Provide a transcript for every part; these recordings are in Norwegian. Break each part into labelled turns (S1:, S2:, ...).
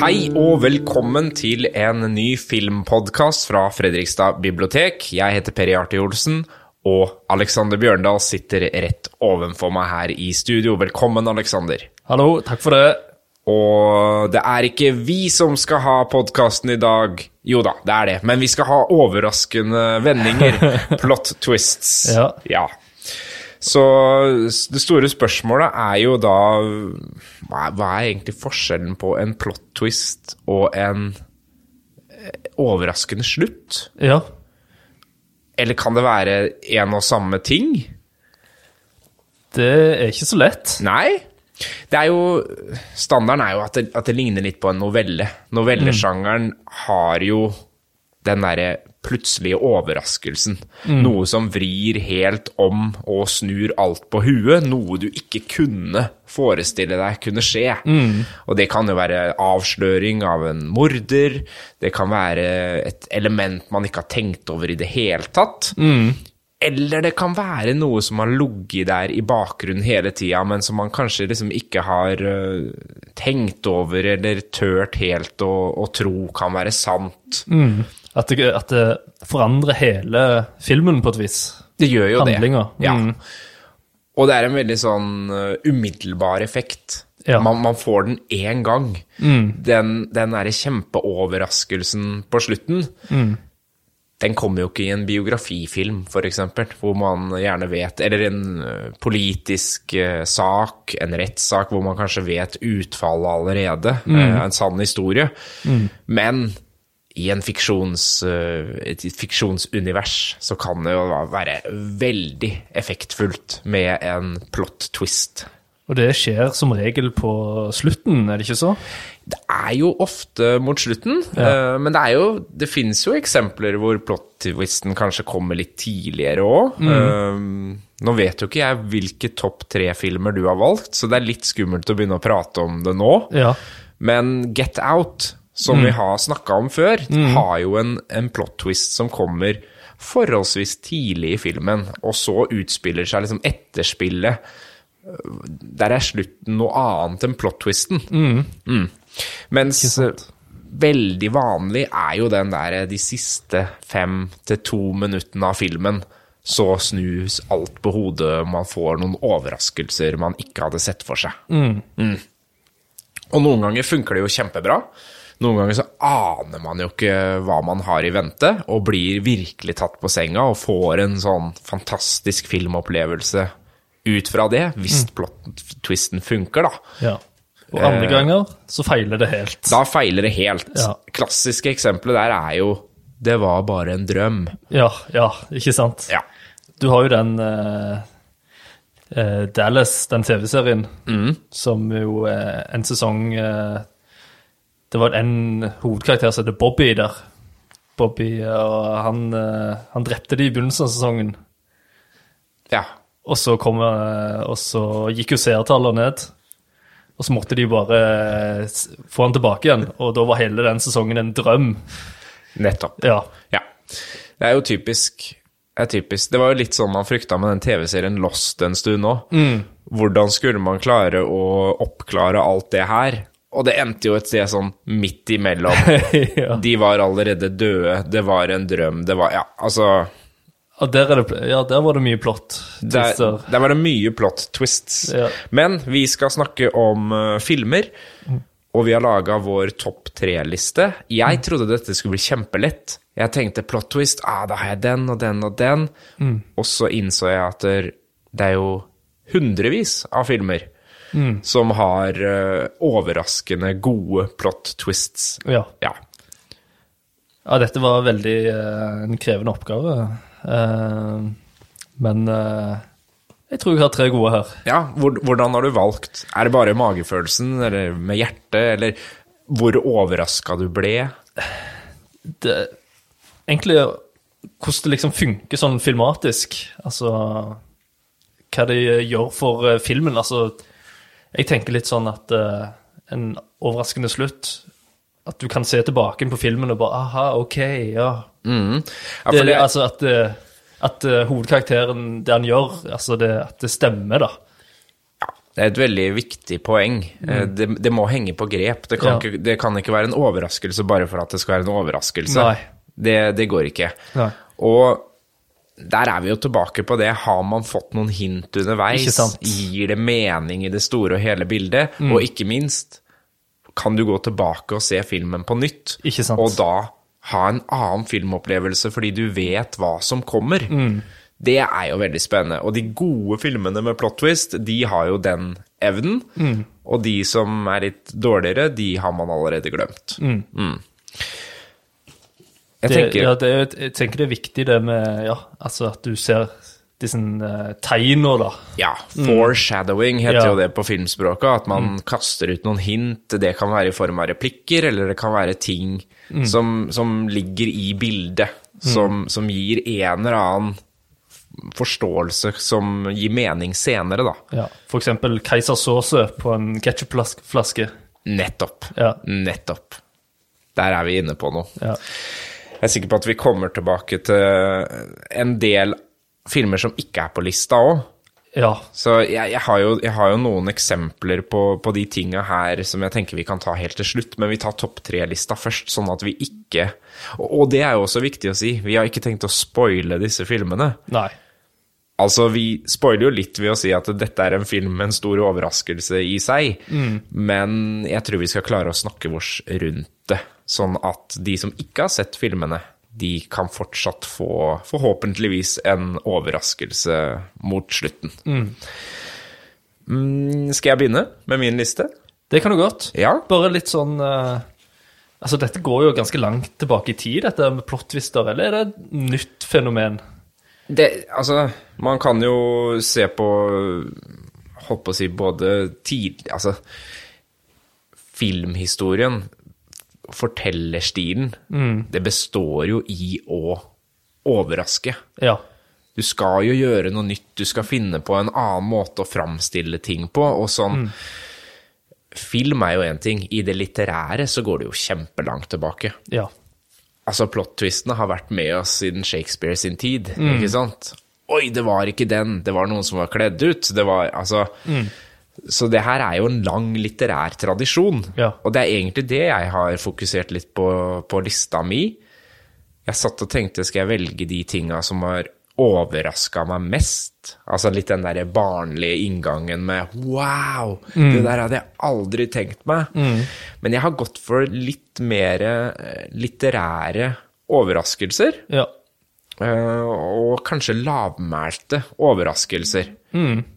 S1: og velkommen til en ny filmpodkast fra Fredrikstad bibliotek. Jeg heter Peri Arte Olsen, og Alexander Bjørndal sitter rett ovenfor meg her i studio. Velkommen, Alexander.
S2: Hallo, takk for det.
S1: Og det er ikke vi som skal ha podkasten i dag. Jo da, det er det. Men vi skal ha overraskende vendinger. Plot twists.
S2: Ja.
S1: Så s- det store spørsmålet er jo da hva er, hva er egentlig forskjellen på en plot twist og en eh, overraskende slutt?
S2: Ja.
S1: Eller kan det være en og samme ting?
S2: Det er ikke så lett.
S1: Nei. Det er jo, standarden er jo at det, at det ligner litt på en novelle. Novellesjangeren har jo den derre plutselige overraskelsen. Noe som vrir helt om og snur alt på huet. Noe du ikke kunne forestille deg kunne skje. Og det kan jo være avsløring av en morder. Det kan være et element man ikke har tenkt over i det hele tatt. Eller det kan være noe som har ligget der i bakgrunnen hele tida, men som man kanskje liksom ikke har øh, tenkt over eller tørt helt å, å tro kan være sant.
S2: Mm. At det, at det forandrer hele filmen på et vis.
S1: Det gjør jo
S2: Handlinger.
S1: det. Ja.
S2: Mm.
S1: Og det er en veldig sånn øh, umiddelbar effekt.
S2: Ja. Mm.
S1: Man, man får den én gang. Den, den derre kjempeoverraskelsen på slutten. Den kommer jo ikke i en biografifilm, f.eks., hvor man gjerne vet Eller en øh, politisk øh, sak, en rettssak, hvor man kanskje vet utfallet allerede. øh, En sann historie. Men i en fiksjons, øh, et fiksjonsunivers så kan det jo være veldig effektfullt med en plot twist.
S2: Og det skjer som regel på slutten, er det ikke så?
S1: Det er jo ofte mot slutten, eh, men det er jo Det fins jo eksempler hvor plot-twisten kanskje kommer litt tidligere òg. nå vet jo ikke jeg hvilke topp tre-filmer du har valgt, så det er litt skummelt å begynne å prate om det nå.
S2: Ja.
S1: Men Get Out, som vi har snakka om før, har jo en, en plot-twist som kommer forholdsvis tidlig i filmen, og så utspiller seg liksom etterspillet. Der er slutten noe annet enn plot-twisten. Mm. Mens veldig vanlig er jo den der eh, de siste fem til to minuttene av filmen, så snus alt på hodet, man får noen overraskelser man ikke hadde sett for seg. Og noen ganger funker det jo kjempebra. Noen ganger så aner man jo ikke hva man har i vente, og blir virkelig tatt på senga og får en sånn fantastisk filmopplevelse ut fra det, hvis plot-twisten funker, da.
S2: ja. Og
S1: Eh.
S2: andre ganger så feiler det helt.
S1: Da feiler det helt.
S2: Ja.
S1: Klassiske eksempelet der er jo 'det var bare en drøm'.
S2: Ja, ja, ikke sant?
S1: Ja.
S2: Du har jo den eh, eh, Dallas, den TV-serien, som jo eh, en sesong eh, Det var en hovedkarakter som heter Bobby der. Bobby, eh, og han, eh, han drepte de i begynnelsen av sesongen.
S1: ja.
S2: Og så, kom, eh, og så gikk jo seertallene ned. Og så måtte de bare eh, s- få han tilbake igjen. Og da var hele den sesongen en drøm.
S1: Nettopp.
S2: Ja.
S1: Ja. Det er jo typisk. Det, er typisk. det var jo litt sånn man frykta med den TV-serien Lost en stund nå. Hvordan skulle man klare å oppklare alt det her? Og det endte jo et sted sånn midt imellom.
S2: ja.
S1: De var allerede døde, det var en drøm, det var Ja, altså
S2: Og der, er det, pl- ja, der var det mye plott.
S1: der,
S2: twister.
S1: der var det mye plot twists.
S2: Ja.
S1: Men vi skal snakke om eh, filmer,
S2: Mm.
S1: og vi har laga vår topp tre-liste. Jeg trodde dette skulle bli kjempelett. Jeg tenkte plot twist, ah, da har jeg den og den og den.
S2: Mm.
S1: Og så innså jeg at det det er jo hundrevis av filmer
S2: Mm.
S1: som har eh, overraskende gode plot twists.
S2: Ja.
S1: Ja.
S2: Ja, dette var veldig eh, en krevende oppgave. Eh, men eh, jeg tror jeg har tre gode her.
S1: Ja, hvor, hvordan har du valgt? Er det bare magefølelsen, eller med hjertet, eller hvor overraska du ble?
S2: Det, egentlig hvordan det liksom funker sånn filmatisk. Altså hva de gjør for eh, filmen. Altså jeg tenker litt sånn at eh, en overraskende slutt At du kan se tilbake på filmen og bare Aha, OK, ja.
S1: Ja, for
S2: Det,
S1: det,
S2: altså at, eh, at eh, hovedkarakteren, det han gjør, altså det, at det stemmer, da.
S1: ja, Det er et veldig viktig poeng. Eh, Det, det må henge på grep. Det kan,
S2: Mm. Ja.
S1: ikke, det kan ikke være en overraskelse bare for at det skal være en overraskelse.
S2: Nei.
S1: Det, det går ikke.
S2: Nei.
S1: Og der er vi jo tilbake på det. Har man fått noen hint underveis?
S2: Ikke sant. Mm.
S1: Gir det mening i det store og hele bildet? Og ikke minst, kan du gå tilbake og se filmen på nytt?
S2: Ikke sant.
S1: Og da ha en annen filmopplevelse fordi du vet hva som kommer.
S2: Mm.
S1: Det er jo veldig spennende. Og de gode filmene med plot twist, de har jo den evnen.
S2: Mm.
S1: Og de som er litt dårligere, de har man allerede glemt. Mm. Jeg
S2: Det,
S1: tenker
S2: ja, det, er jo- jeg tenker det er viktig det med ja, altså at du ser disse uh, tegnene, da.
S1: Ja, foreshadowing heter
S2: Mm. Ja. Mm.
S1: jo det på filmspråket. At man kaster ut noen hint. Det kan være i form av replikker, eller det kan være ting
S2: Mm.
S1: som, som ligger i bildet. Som, som gir en eller annen forståelse som gir mening senere, da.
S2: Ja. For eksempel keisersåse på en ketsjupflaske.
S1: Nettopp.
S2: Ja.
S1: Nettopp. Der er vi inne på noe.
S2: Ja.
S1: Jeg er sikker på at vi kommer tilbake til en del filmer som ikke er på lista òg.
S2: ja.
S1: Så jeg, jeg, har jo, jeg har jo noen eksempler på, på de tinga her som jeg tenker vi kan ta helt til slutt, men vi tar topp tre-lista først, sånn at vi ikke og, og det er jo også viktig å si, vi har ikke tenkt å spoile disse filmene.
S2: Nei.
S1: Altså, vi spoiler jo litt ved å si at dette er en film med en stor overraskelse i seg, men jeg tror vi skal klare å snakke vårs rundt det, sånn at de som ikke har sett filmene, de kan fortsatt få, forhåpentligvis, en overraskelse mot slutten. Mm, skal jeg begynne med min liste?
S2: Det kan du godt.
S1: Ja.
S2: Bare litt sånn eh, Altså, dette går jo ganske langt tilbake i tid, dette med plot-twister, eller er det et nytt fenomen?
S1: Det, altså, man kan jo se på Holdt på å si både tid... Altså, filmhistorien, fortellerstilen, det består jo i å overraske.
S2: Ja.
S1: Du skal jo gjøre noe nytt, du skal finne på en annen måte å framstille ting på, og sånn Film er jo én ting, i det litterære så går det jo kjempelangt tilbake.
S2: Ja.
S1: Altså, plot-twistene har vært med oss siden Shakespeare sin tid, ikke sant? Oi, det var ikke den, det var noen som var kledd ut, det var, altså... Så det her er jo en lang litterær tradisjon,
S2: Ja.
S1: og det er egentlig det jeg har fokusert litt på, på lista mi. Jeg satt og tenkte, skal jeg velge de tinga som har overraska meg mest? Altså litt den derre barnlige inngangen med wow, det der hadde jeg aldri tenkt meg. Men jeg har gått for litt mer eh, litterære overraskelser.
S2: Ja.
S1: Eh, og kanskje lavmælte overraskelser.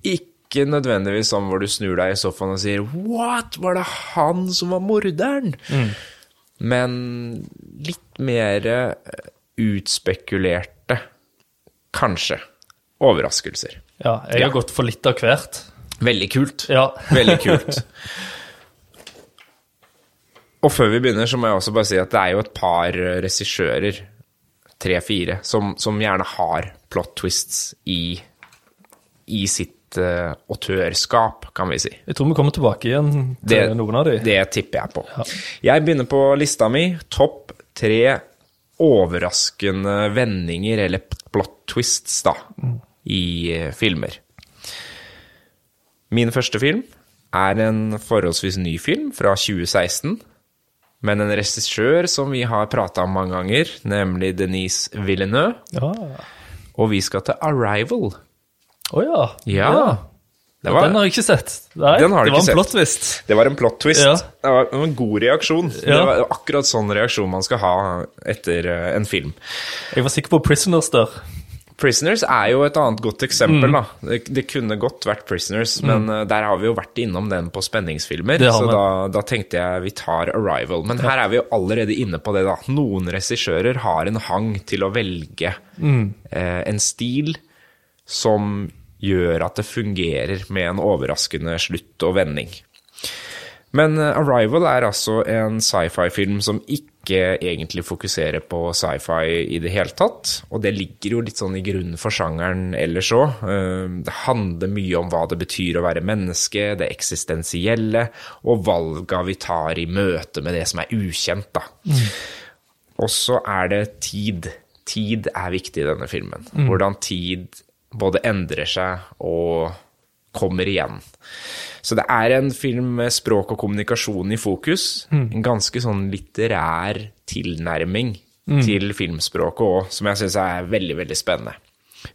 S1: Ikke nødvendigvis sånn hvor du snur deg i sofaen og sier 'what, var det han som var morderen?' Men litt mer eh, utspekulerte, kanskje, overraskelser.
S2: ja. Jeg
S1: Ja.
S2: har gått for litt av hvert.
S1: Veldig kult.
S2: Ja.
S1: Veldig kult. Og før vi begynner, så må jeg også bare si at det er jo et par eh, regissører, tre-fire, som, som gjerne har plot twists i, i sitt eh, autørskap, kan vi si.
S2: Jeg tror vi kommer tilbake igjen til noen av de.
S1: Det tipper jeg på. Jeg begynner på lista mi. Topp tre overraskende vendinger, eller plot twists, da,
S2: Mm.
S1: i eh, filmer. Min første film er en forholdsvis ny film fra 2016, men en regissør som vi har prata om mange ganger, nemlig Denise Villeneuve,
S2: Ja.
S1: og vi skal til Arrival.
S2: Å ja.
S1: Ja. Det
S2: Den
S1: var,
S2: har jeg ikke sett. Nei,
S1: Den har du
S2: det var
S1: ikke
S2: en
S1: sett.
S2: plot-twist.
S1: det var en plot twist.
S2: Ja.
S1: Det var en god reaksjon. Det
S2: Ja.
S1: var akkurat sånn reaksjon man skal ha etter eh, en film.
S2: Jeg var sikker på Prisoners der.
S1: Prisoners er jo et annet godt
S2: Mm.
S1: eksempel, da. Det, det kunne godt vært Prisoners, men eh, der har vi jo vært innom den på spenningsfilmer,
S2: Det har
S1: så
S2: vi.
S1: da, da tenkte jeg vi tar Arrival. Men her er vi jo allerede inne på det, da. Noen regissører har en hang til å velge
S2: Mm.
S1: eh, en stil som gjør at det fungerer med en overraskende slutt og vending. Men eh, Arrival er altså en sci-fi-film som ikke egentlig fokuserer på sci-fi i det hele tatt. Og det ligger jo litt sånn i grunnen for sjangeren ellers òg. Eh, Det handler mye om hva det betyr å være menneske, det eksistensielle, og valga vi tar i møte med det som er ukjent, da. Og så er det tid. Tid er viktig i denne filmen. Hvordan tid både endrer seg og kommer igjen. Så det er en film med språk og kommunikasjon i fokus. En ganske sånn litterær tilnærming til filmspråket òg, som jeg syns er veldig, veldig spennende.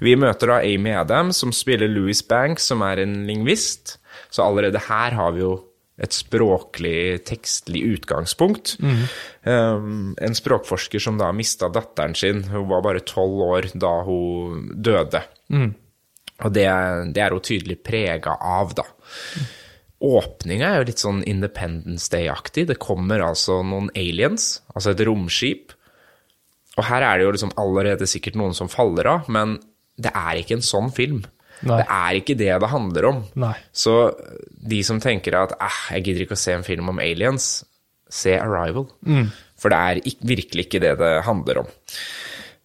S1: Vi møter da Amy Adams, som spiller Louis Banks, som er en lingvist. Så allerede her har vi jo et språklig, tekstlig utgangspunkt. Um, en språkforsker som da mista datteren sin, hun var bare tolv år da hun døde. Og det, det er hun tydelig prega av, da. Åpninga er jo litt sånn Independence Day-aktig. Det kommer altså noen aliens, altså et romskip. Og her er det jo liksom allerede sikkert noen som faller av, men det er ikke en sånn film.
S2: Nei.
S1: Det er ikke det det handler om.
S2: Nei.
S1: Så de som tenker at eh, jeg gidder ikke å se en film om aliens, se Arrival. For det er ikk- virkelig ikke det det handler om.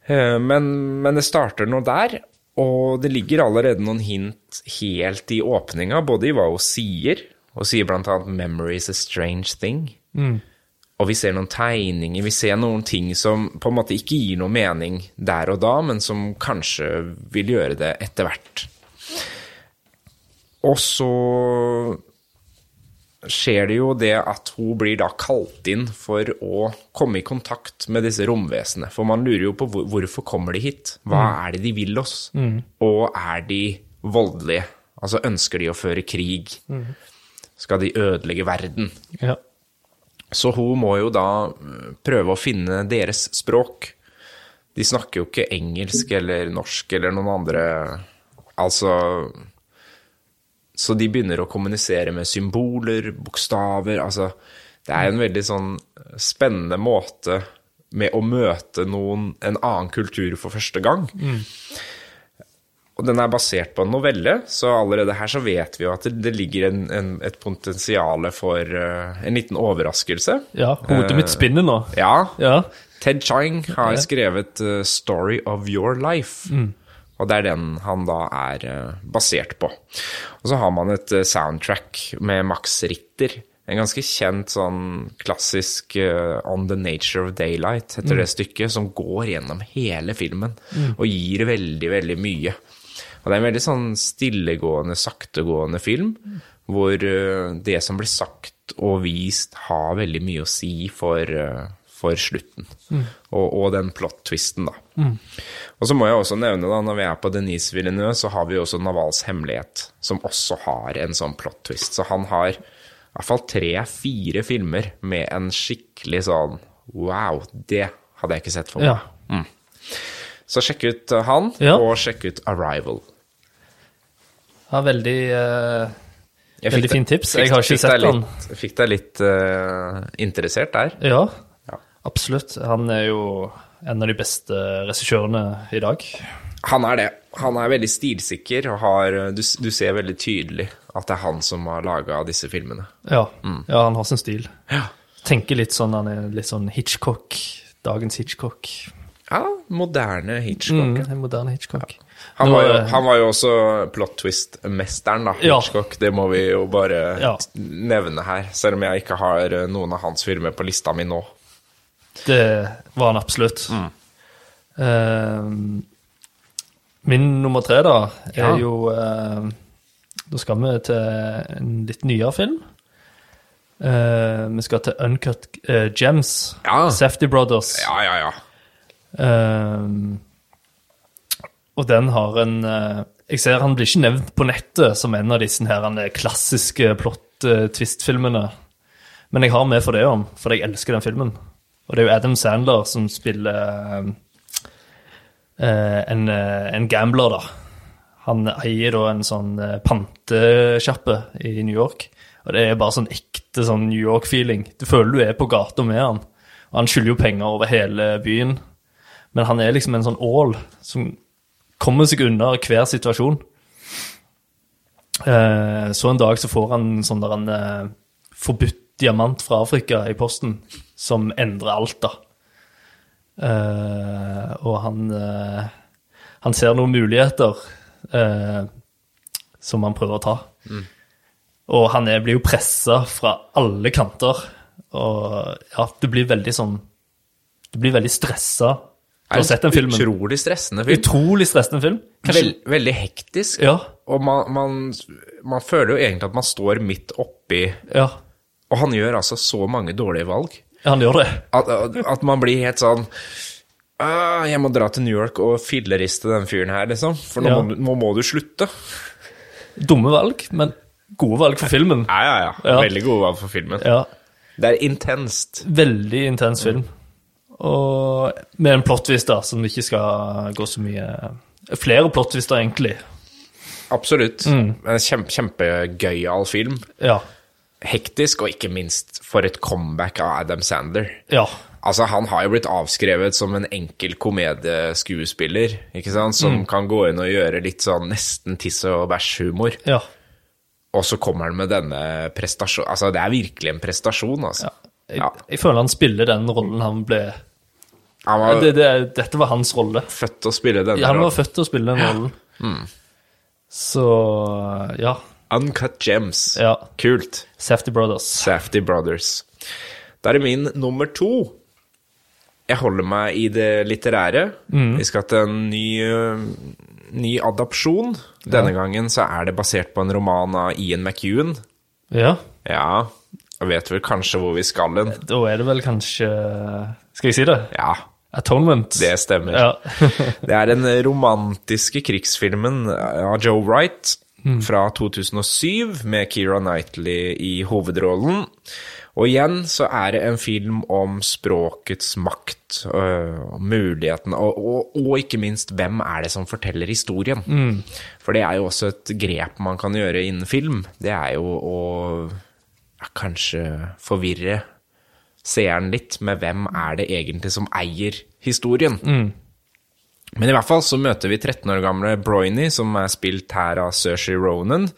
S1: Eh, Men, men det starter nå der, og det ligger allerede noen hint helt i åpninga, både i hva hun sier, og sier blant annet 'memory is a strange thing'. Og vi ser noen tegninger, vi ser noen ting som på en måte ikke gir noe mening der og da, men som kanskje vil gjøre det etter hvert. Og så skjer det jo det at hun blir da kalt inn for å komme i kontakt med disse romvesenene. For man lurer jo på hvor, hvorfor kommer de hit? Hva er det de vil oss? Og er de voldelige? Altså ønsker de å føre krig? Skal de ødelegge verden?
S2: Ja.
S1: Så hun må jo da eh, prøve å finne deres språk. De snakker jo ikke engelsk eller norsk eller noen andre Altså Så de begynner å kommunisere med symboler, bokstaver Altså Det er en veldig sånn spennende måte med å møte noen, en annen kultur for første gang. Og den er basert på en novelle, så allerede her så vet vi jo at det, det ligger en, en, et potensial for eh, en liten overraskelse.
S2: ja. Hodet
S1: Eh.
S2: mitt spinner nå.
S1: Ja,
S2: Ja.
S1: Ted Chang har
S2: Ja.
S1: skrevet eh, 'Story of Your Life'. Og det er den han da er eh, basert på. Og så har man et eh, soundtrack med Max Ritter. En ganske kjent sånn klassisk eh, 'On the Nature of Daylight' heter det stykket, som går gjennom hele filmen og gir veldig, veldig mye. Og det er en veldig sånn stillegående, saktegående film, hvor eh, det som blir sagt og vist har veldig mye å si for, eh, for slutten.
S2: Mm.
S1: Og, og den plot-twisten, da. Og så må jeg også nevne, da, når vi er på Denise Villeneuve, så har vi også Navals hemmelighet, som også har en sånn plot-twist. Så han har i hvert fall tre-fire filmer med en skikkelig sånn Wow, det hadde jeg ikke sett for meg.
S2: ja.
S1: Så sjekk ut eh, han,
S2: Ja.
S1: og sjekk ut Arrival.
S2: Ja, veldig eh,
S1: Jeg
S2: Veldig
S1: fikk deg-
S2: fin tips.
S1: fikk-
S2: Jeg har ikke
S1: fikk
S2: sett
S1: deg
S2: den.
S1: litt- Fikk deg litt eh, interessert der.
S2: Ja,
S1: Ja.
S2: absolutt. Han er jo en av de beste regissørene i dag.
S1: Han er det. Han er veldig stilsikker, og har, eh, du, s- du ser veldig tydelig at det er han som har laga disse filmene.
S2: Ja.
S1: Mm.
S2: ja, han har sin stil. Tenker litt sånn, han er litt sånn Hitchcock. Dagens Hitchcock.
S1: Ja, moderne Hitchcock.
S2: En moderne Hitchcock.
S1: Han,
S2: Mm. Nå,
S1: var jo,
S2: eh,
S1: han var jo også plot twist-mesteren, da.
S2: Ja.
S1: Hitchcock. Det må vi jo bare
S2: Ja.
S1: t- nevne her, selv om jeg ikke har eh, noen av hans filmer på lista mi nå.
S2: Det var han absolutt.
S1: Mm.
S2: Eh, min nummer tre, da, er
S1: Ja.
S2: jo eh, Da skal vi til en litt nyere film. Eh, vi skal til Uncut eh, Gems.
S1: Ja.
S2: Safety Brothers.
S1: Ja, ja, ja.
S2: Eh, og den har en eh, Jeg ser han blir ikke nevnt på nettet som en av disse her, han, eh, klassiske plott-twist-filmene. Men jeg har med for det om, for jeg elsker den filmen. Og det er jo Adam Sandler som spiller eh, eh, en, eh, en gambler, da. Han eier da en sånn eh, pantesjappe i New York. Og det er bare sånn ekte sånn New York-feeling. Du føler du er på gata med han. Og han skylder jo penger over hele byen. Men han er liksom en sånn ål som kommer seg unna hver situasjon. Eh, så en dag så får han sånn der en eh, forbudt diamant fra Afrika i posten, som endrer alt, da. Eh, og han eh, Han ser noen muligheter eh, som han prøver å ta. Og han er, blir jo pressa fra alle kanter. Og ja, det blir veldig sånn Du blir veldig stressa. Du har sett den filmen.
S1: Utrolig stressende film.
S2: Utrolig stressende film. Kanskje,
S1: Vel- veldig hektisk.
S2: ja.
S1: og man, man, man føler jo egentlig at man står midt oppi
S2: Ja,
S1: Og han gjør altså så mange dårlige valg
S2: han gjør det.
S1: at, at- at man blir helt sånn «Ah, Jeg må dra til New York og filleriste den fyren her, liksom. For nå,
S2: Ja.
S1: må, du- nå må du slutte.
S2: Dumme valg, men gode valg for filmen.
S1: Ja, ja, ja.
S2: Ja.
S1: Veldig gode valg for filmen.
S2: Ja,
S1: Det er intenst.
S2: Veldig intens film. Og med en plottvist da, som ikke skal gå så mye Flere plottvister, egentlig.
S1: Absolutt.
S2: Mm.
S1: En Kjempe, kjempegøyal film.
S2: Ja.
S1: Hektisk, og ikke minst for et comeback av Adam Sander.
S2: Ja.
S1: Altså, han har jo blitt avskrevet som en enkel komedieskuespiller, ikke sant, som
S2: Mm.
S1: kan gå inn og gjøre litt sånn nesten tiss og bæsj-humor.
S2: ja.
S1: Og så kommer han med denne prestasjonen Altså, det er virkelig en prestasjon, altså.
S2: Jeg,
S1: Ja.
S2: jeg føler han spiller den rollen han ble
S1: Han var
S2: det, det, Dette var hans rolle.
S1: født til å spille denne
S2: Han var
S1: rollen.
S2: født til å spille den rollen. Så ja.
S1: Uncut Gems.
S2: Ja.
S1: Kult.
S2: Safety Brothers.
S1: Safety Brothers. Da er det min nummer to. Jeg holder meg i det litterære. Vi skal til en ny, øh, ny adapsjon. Denne gangen så er det basert på en roman av Ian McEwan.
S2: Ja.
S1: Ja, jeg vet vel kanskje hvor vi skal hen.
S2: Da er det vel kanskje Skal jeg si det?
S1: Ja,
S2: Atonement.
S1: det stemmer.
S2: Ja.
S1: Det er den romantiske krigsfilmen av Joe Wright fra 2007, med Keira Knightley i hovedrollen. Og igjen så er det en film om språkets makt, øh, mulighetene, og, og, og ikke minst hvem er det som forteller historien. For det er jo også et grep man kan gjøre innen film. Det er jo å ja, kanskje forvirre seeren litt med hvem er det egentlig som eier historien. Men i hvert fall så møter vi 13 år gamle Broyny, som er spilt her av Saoirse Ronan.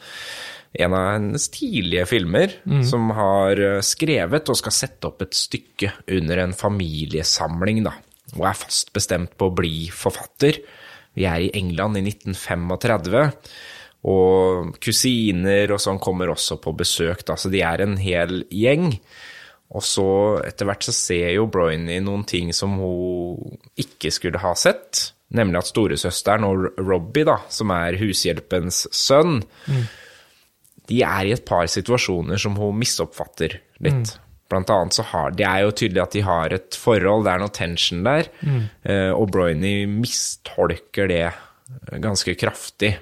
S1: En av hennes tidlige filmer, som har eh, skrevet og skal sette opp et stykke under en familiesamling, da. Og er fast bestemt på å bli forfatter. Vi er i England i 1935. Og kusiner og sånn kommer også på besøk, da, så de er en hel gjeng. Og så etter hvert så ser jo Broyny noen ting som hun ikke skulle ha sett. Nemlig at storesøsteren og Robbie, da, som er hushjelpens sønn, de er i et par situasjoner som hun misoppfatter litt.
S2: Mm.
S1: Blant annet så har Det er jo tydelig at de har et forhold, det er noe tension der.
S2: Mm.
S1: eh, Og Broyny mistolker det eh, ganske kraftig.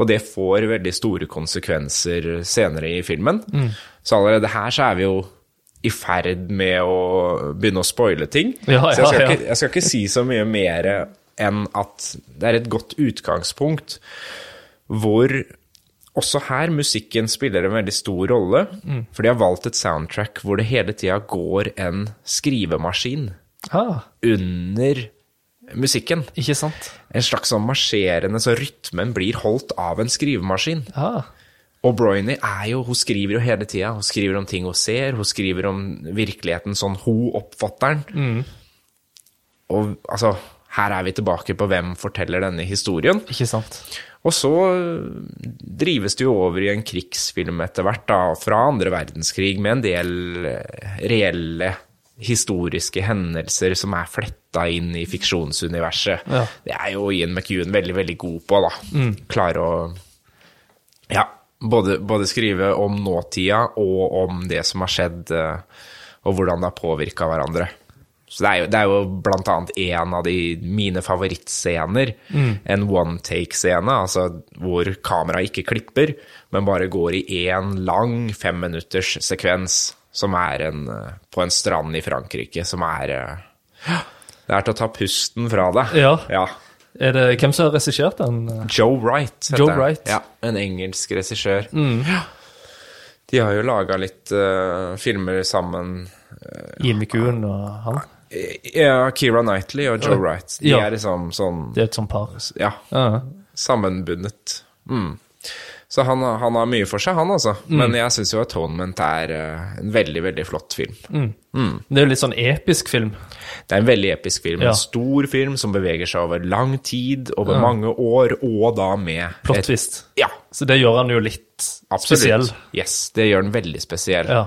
S1: Og det får veldig store konsekvenser senere i filmen.
S2: Mm.
S1: Så allerede her så er vi jo i ferd med å begynne å spoile ting.
S2: Ja,
S1: så jeg skal,
S2: ja, ja.
S1: Ikke, jeg skal ikke si så mye mer enn at det er et godt utgangspunkt hvor også her musikken spiller en veldig stor rolle, for de har valgt et soundtrack hvor det hele tida går en skrivemaskin
S2: Ah,
S1: under musikken.
S2: ikke sant?
S1: En slags sånn marsjerende, så rytmen blir holdt av en skrivemaskin.
S2: Ah,
S1: Og Broyny er jo, hun skriver jo hele tida. Hun skriver om ting hun ser, hun skriver om virkeligheten sånn hun oppfatter den. Og altså, her er vi tilbake på hvem forteller denne historien.
S2: ikke sant?
S1: Og så eh, drives det jo over i en krigsfilm etter hvert, da, fra andre verdenskrig, med en del eh, reelle historiske hendelser som er fletta inn i fiksjonsuniverset.
S2: Ja.
S1: Det er jo Ian McEwan veldig, veldig god på, da. Klare å ja, både, både skrive om nåtida og om det som har skjedd, eh, og hvordan det har påvirka hverandre. Så det er, jo, det er jo blant annet en av de mine favorittscener, en one take-scene, altså hvor kameraet ikke klipper, men bare går i én lang femminutters sekvens som er en, eh, på en strand i Frankrike, som er eh, Det er til å ta pusten fra deg.
S2: Ja.
S1: ja.
S2: Er det hvem som har regissert den?
S1: Joe Wright heter
S2: Joe
S1: han.
S2: Wright. Mm.
S1: Ja, en engelsk regissør. Ja. De har jo laga litt eh, filmer sammen.
S2: Jimmy Kuhn og han?
S1: Eh, Ja, Keira Knightley og Joe Wright. De
S2: Ja.
S1: er liksom sånn
S2: Det er et sånt par.
S1: Ja,
S2: Ja.
S1: sammenbundet. Mm. Så han, han har mye for seg, han altså.
S2: Mm.
S1: Men jeg syns jo Atonement er eh, en veldig, veldig flott film.
S2: Mm. Det er jo litt sånn episk film.
S1: Det er en veldig episk film.
S2: Ja.
S1: En stor film som beveger seg over lang tid, over mange år, og da med
S2: Plot
S1: et-
S2: twist.
S1: Ja,
S2: Så det gjør han jo litt
S1: Absolutt.
S2: spesiell.
S1: Yes, det gjør den veldig spesiell.
S2: Ja.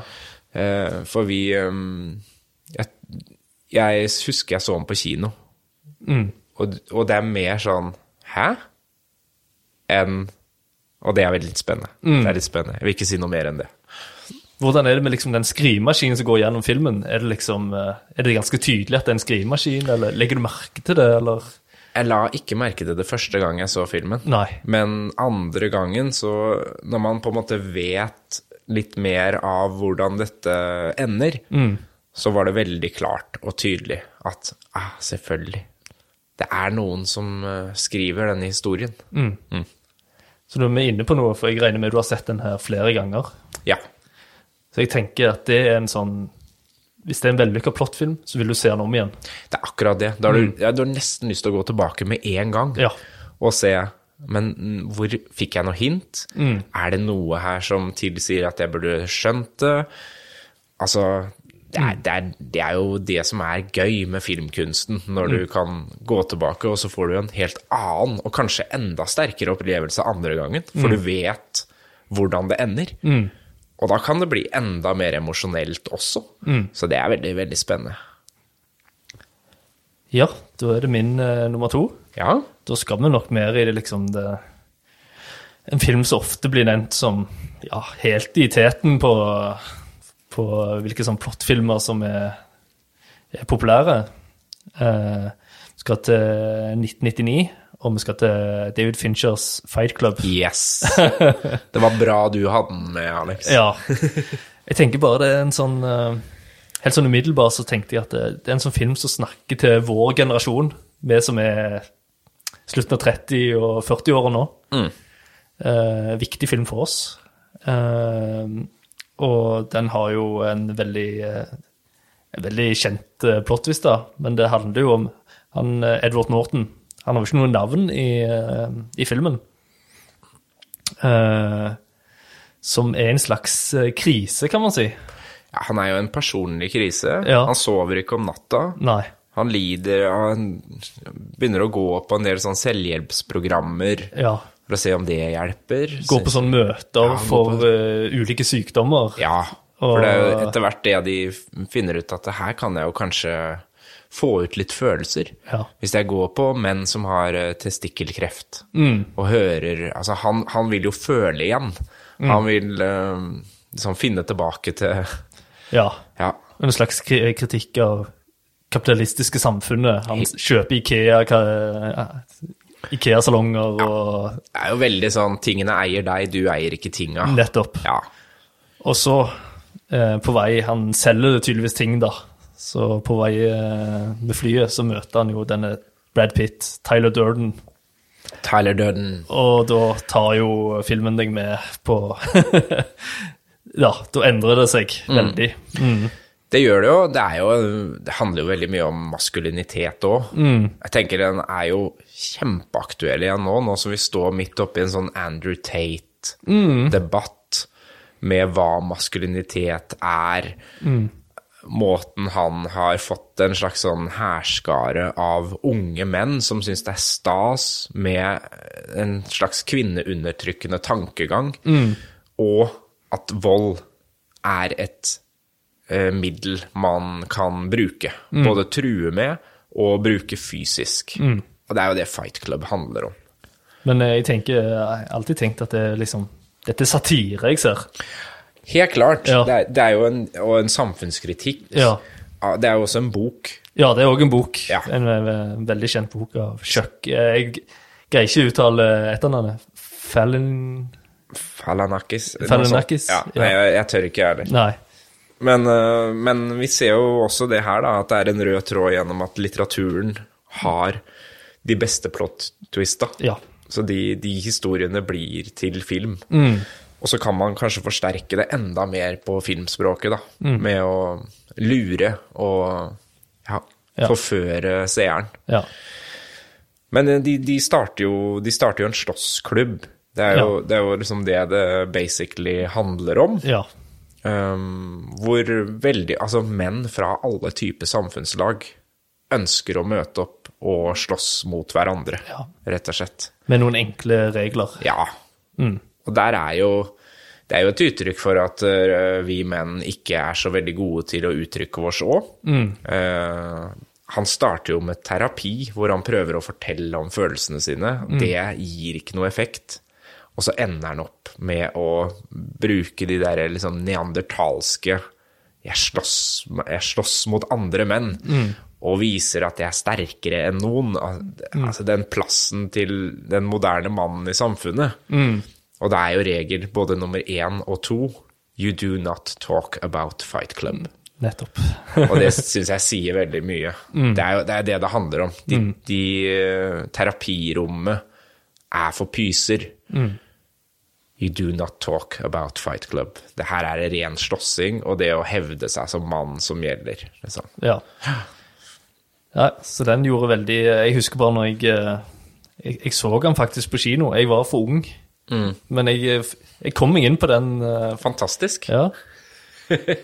S1: Eh, for vi ehm, jeg, jeg husker jeg så den på kino,
S2: Mm.
S1: og, og det er mer sånn Hæ? Enn Og det er veldig litt spennende.
S2: Mm.
S1: Det er litt spennende. Jeg vil ikke si noe mer enn det.
S2: Hvordan er det med liksom den skrivemaskinen som går gjennom filmen? Er det, liksom, eh, er det ganske tydelig at det er en skrivemaskin, eller legger du merke til det, eller
S1: Jeg la ikke merke til det første gang jeg så filmen.
S2: Nei.
S1: Men andre gangen, så når man på en måte vet litt mer av hvordan dette ender, så var det veldig klart og tydelig at ah, selvfølgelig, det er noen som eh, skriver denne historien.
S2: Så du er inne på noe, for jeg regner med du har sett den her flere ganger.
S1: Ja.
S2: Så jeg tenker at det er en sånn Hvis det er en vellykka plottfilm, så vil du se den om igjen.
S1: Det er akkurat det. Da har du, ja, du har nesten lyst til å gå tilbake med en gang
S2: Ja.
S1: og se Men mm, hvor fikk jeg noe hint? Er det noe her som tilsier at jeg burde skjønt det? Altså det er, det, er, det er jo det som er gøy med filmkunsten, når du kan gå tilbake, og så får du en helt annen, og kanskje enda sterkere opplevelse andre gangen, for du vet hvordan det ender. Og da kan det bli enda mer emosjonelt også. Så det er veldig, veldig spennende.
S2: Ja, da er det min eh, nummer to.
S1: Ja.
S2: Da skal vi nok mer i det liksom det En film som ofte blir nevnt som ja, helt i teten på, på hvilke sånn plottfilmer som er, er populære. Eh, vi skal til 1999, og vi skal til David Finchers Fight Club.
S1: Yes. Det var bra du hadde den med, Alex.
S2: Ja. Jeg tenker bare det er en sånn eh, Helt sånn umiddelbart så tenkte jeg at det, det er en sånn film som snakker til vår generasjon, vi som er slutten av 30- og 40-åra nå.
S1: Mm.
S2: Eh, viktig film for oss. Eh, og den har jo en veldig eh, en veldig kjent uh, plottvist, da. Men det handler jo om han, eh, Edward Norton. Han har jo ikke noe navn i, eh, i filmen. Eh, som er en slags eh, krise, kan man si.
S1: Ja, han er jo en personlig krise.
S2: Ja.
S1: Han sover ikke om natta.
S2: Nei.
S1: Han lider av Han begynner å gå på en del sånn selvhjelpsprogrammer
S2: Ja.
S1: for å se om det hjelper.
S2: Går på sånne møter
S1: Ja, går
S2: for eh, ulike sykdommer.
S1: Ja, for det er jo
S2: Og-
S1: etter hvert det de finner ut at det her kan jeg jo kanskje få ut litt følelser.
S2: Ja.
S1: Hvis jeg går på menn som har eh, testikkelkreft,
S2: Mm.
S1: og hører Altså, han, han vil jo føle igjen.
S2: Mm.
S1: Han vil eh, liksom finne tilbake til
S2: Ja.
S1: Ja,
S2: En slags kri- kritikk av kapitalistiske samfunnet. Han kjøper Ikea, ka- eh, Ikea-salonger og
S1: Det er jo veldig sånn tingene eier deg, du eier ikke tinga.
S2: nettopp.
S1: Ja.
S2: Og så, eh, på vei Han selger tydeligvis ting, da. Så på vei eh, med flyet så møter han jo denne Brad Pitt, Tyler Durden.
S1: Tyler Durden.
S2: Og da tar jo filmen deg med på Ja, da endrer det seg
S1: Mm.
S2: veldig. Mm.
S1: Det gjør det jo. Det, er jo, det handler jo veldig mye om maskulinitet òg. Jeg tenker den er jo kjempeaktuell igjen nå, nå som vi står midt oppi en sånn Andrew Tate-debatt med hva maskulinitet er. Måten han har fått en slags sånn hærskare av unge menn som syns det er stas med en slags kvinneundertrykkende tankegang,
S2: Mm.
S1: og at vold er et eh, middel man kan bruke.
S2: Mm.
S1: Både true med og bruke fysisk. Og det er jo det Fight Club handler om.
S2: Men eh, jeg tenker, jeg har alltid tenkt at det er liksom Dette er satire jeg ser.
S1: Helt klart.
S2: Ja.
S1: Det, er, det er jo en, og en samfunnskritikk.
S2: Ja.
S1: Ja, Det er jo også en bok.
S2: Ja, det er òg en bok.
S1: Ja.
S2: En, eh, veldig kjent bok av Chuck. Eh, Jeg greier ikke uttale etternavnet. Fallon
S1: Falanakis. noe
S2: Falanakis,
S1: sånt. Ja,
S2: ja.
S1: Nei, jeg, jeg tør ikke, jeg heller.
S2: Nei.
S1: Men, eh, men vi ser jo også det her, da, at det er en rød tråd gjennom at litteraturen har de beste plot-twista.
S2: Ja.
S1: Så de, de historiene blir til film.
S2: Mm.
S1: Og så kan man kanskje forsterke det enda mer på filmspråket, da.
S2: Mm.
S1: Med å lure og ja,
S2: Ja.
S1: forføre seeren.
S2: Ja.
S1: Men eh, de, de, starter jo, de starter jo en slåssklubb. Det er jo, det er jo liksom det det basically handler om.
S2: ja.
S1: Um, hvor veldig Altså, menn fra alle typer samfunnslag ønsker å møte opp og slåss mot hverandre,
S2: Ja.
S1: rett og slett.
S2: Med noen enkle regler.
S1: Ja. Og der er jo Det er jo et uttrykk for at eh, vi menn ikke er så veldig gode til å uttrykke oss òg. han starter jo med terapi, hvor han prøver å fortelle om følelsene sine. Det gir ikke noe effekt. Og så ender han opp med å bruke de der liksom neandertalske jeg slåss, jeg slåss mot andre menn, og viser at jeg er sterkere enn noen. Al- Altså den plassen til den moderne mannen i samfunnet. Og det er jo regel både nummer én og to You do not talk about fight club.
S2: Nettopp.
S1: Og det syns jeg sier veldig mye. Det er jo det er det, det handler om. De, de eh, Terapirommene er for pyser. You do not talk about fight club. Det her er ren slåssing og det å hevde seg som mann som gjelder. Liksom.
S2: Ja. ja. Så den gjorde veldig Jeg husker bare når jeg eh, Jeg, jeg så den faktisk på kino. Jeg var for ung. Men jeg, eh, jeg kom meg inn på den eh,
S1: Fantastisk.
S2: Ja.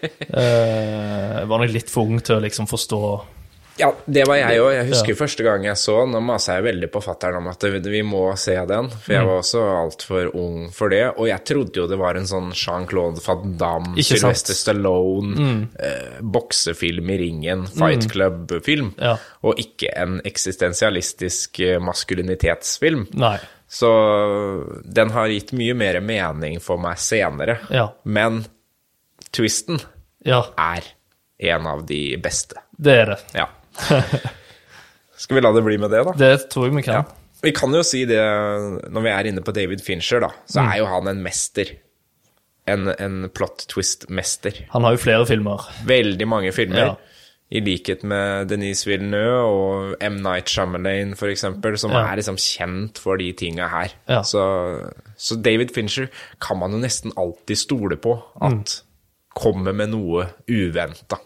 S2: Eh, jeg var nok litt for ung til å liksom forstå
S1: Ja, det var jeg òg. Jeg husker første gang jeg så den. Da masa jeg veldig på fattern om at vi må se den, for
S2: Mm.
S1: jeg var også altfor ung for det. Og jeg trodde jo det var en sånn Jean-Claude van Damme,
S2: Ikke sant? Mm.
S1: Sylvester Stallone, eh, boksefilm i ringen, Fight Club-film,
S2: Ja.
S1: og ikke en eksistensialistisk eh, maskulinitetsfilm.
S2: Nei.
S1: Så den har gitt mye mer mening for meg senere.
S2: Ja.
S1: Men twisten
S2: Ja,
S1: er en av de beste.
S2: det er det.
S1: Ja. Skal vi la det bli med det, da?
S2: Det tror jeg vi kan.
S1: Vi kan jo si det, når vi er inne på David Fincher, da, så
S2: Mm.
S1: er jo han en mester. En, en plot twist-mester.
S2: Han har jo flere filmer.
S1: Veldig mange filmer.
S2: Ja.
S1: I likhet med Denise Villeneuve og M. Night Shyamalan, for eksempel, som
S2: Ja.
S1: er liksom kjent for de tinga her.
S2: Ja.
S1: Så, så David Fincher kan man jo nesten alltid stole på at
S2: Mm.
S1: kommer med noe uventa.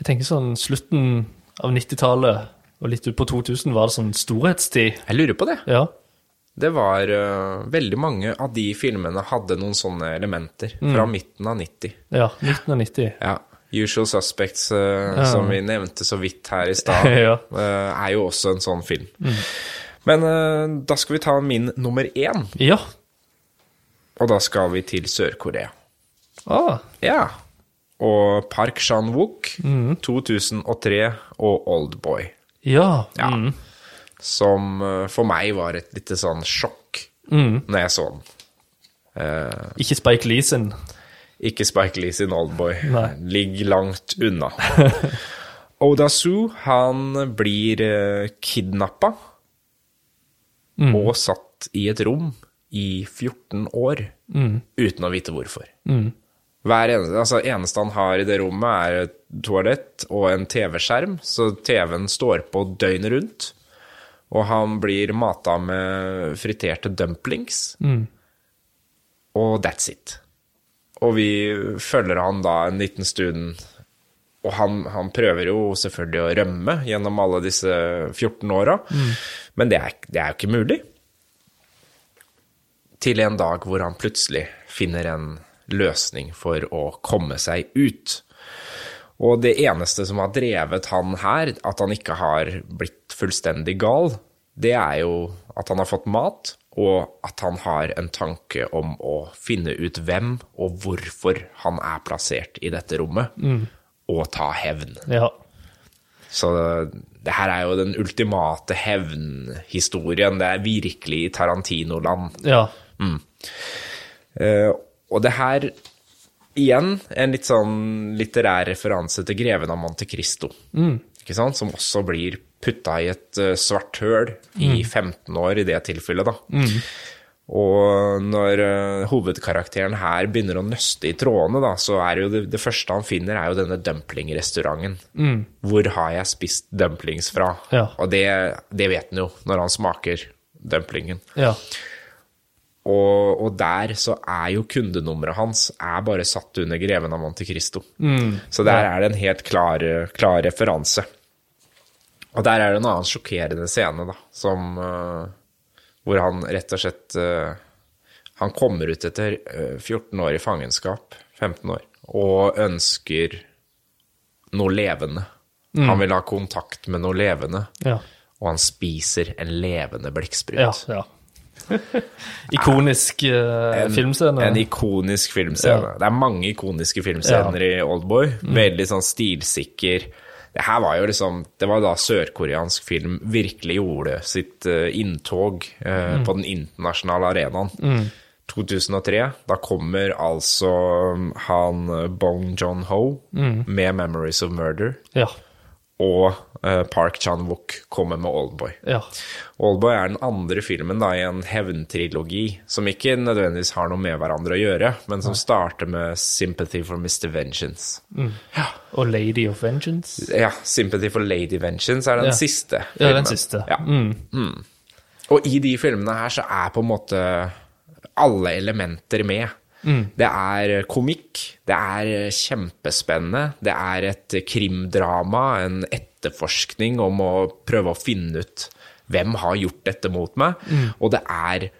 S2: Jeg tenker sånn slutten av 90-tallet og litt ut på 2000 var det sånn storhetstid.
S1: Jeg lurer på det.
S2: Ja.
S1: Det var øh, Veldig mange av de filmene hadde noen sånne elementer fra midten av 90.
S2: Ja. 1990.
S1: Ja. Usual Suspects, øh, som vi nevnte så vidt her i stad,
S2: Ja.
S1: øh, er jo også en sånn film. Men øh, da skal vi ta min nummer én,
S2: Ja.
S1: og da skal vi til Sør-Korea.
S2: Ah.
S1: Ja. Og Park Chan-wook, 2003 og Oldboy,
S2: Ja. Mm.
S1: ja. som øh, for meg var et lite sånn sjokk når jeg så den.
S2: Ikke Spike Lee sin.
S1: Ikke Spike Lee sin oldboy.
S2: Nei.
S1: Ligg langt unna. Oda Soo, han blir eh, kidnappa og satt i et rom i 14 år uten å vite hvorfor. Hver eneste, altså, eneste han har i det rommet, er et toalett og en TV-skjerm, så TV-en står på døgnet rundt. Og han blir mata med friterte dumplings. Og that's it. Og vi følger han da en liten stund. Og han, han prøver jo selvfølgelig å rømme gjennom alle disse 14 åra, men det er, det er jo ikke mulig. Til en dag hvor han plutselig finner en løsning for å komme seg ut. Og det eneste som har drevet han her, at han ikke har blitt fullstendig gal, det er jo at han har fått mat, og at han har en tanke om å finne ut hvem og hvorfor han er plassert i dette rommet, og ta hevn.
S2: Ja.
S1: Så det her er jo den ultimate hevnhistorien. Det er virkelig i Tarantino-land.
S2: Ja.
S1: Eh, og det her, igjen, en litt sånn litterær referanse til Greven av Monte Cristo. Ikke sant? Som også blir putta i et eh, svart høl i 15 år i det tilfellet, da. Og når eh, hovedkarakteren her begynner å nøste i trådene, da, så er det jo det, det første han finner, er jo denne dumplingrestauranten. Hvor har jeg spist dumplings fra?
S2: Ja.
S1: Og det, det vet han jo når han smaker dumplingen.
S2: Ja.
S1: Og, og der så er jo kundenummeret hans er bare satt under Greven av Monte Cristo. Så der er det en helt klar, klar referanse. Og der er det en annen sjokkerende scene, da, som eh, Hvor han rett og slett eh, Han kommer ut etter eh, 14 år i fangenskap, 15 år, og ønsker noe levende. Han vil ha kontakt med noe levende,
S2: Ja.
S1: og han spiser en levende blekksprut.
S2: ja. ja. Ikonisk eh, filmscene.
S1: En ikonisk filmscene. Det er mange ikoniske filmscener i Oldboy. Veldig sånn stilsikker. Det her var jo liksom Det var da sørkoreansk film virkelig gjorde sitt eh, inntog eh, på den internasjonale arenaen. 2003, da kommer altså han eh, Bong John-ho med 'Memories of Murder',
S2: Ja.
S1: og eh, Park Chan-wook kommer med 'Oldboy'.
S2: ja.
S1: Oldboy er den andre filmen da, i en hevntrilogi, som ikke nødvendigvis har noe med hverandre å gjøre, men som starter med 'Sympathy for Mr. Vengeance'.
S2: Og Lady of Vengeance.
S1: Ja, 'Sympathy for Lady Vengeance' er den
S2: Ja.
S1: siste.
S2: Ja,
S1: filmen.
S2: den siste.
S1: Ja. Mm. Og i de filmene her så er på en måte alle elementer med.
S2: Mm.
S1: Det er komikk, det er kjempespennende, det er et krimdrama, en etterforskning om å prøve å finne ut hvem har gjort dette mot meg,
S2: Mm.
S1: og det er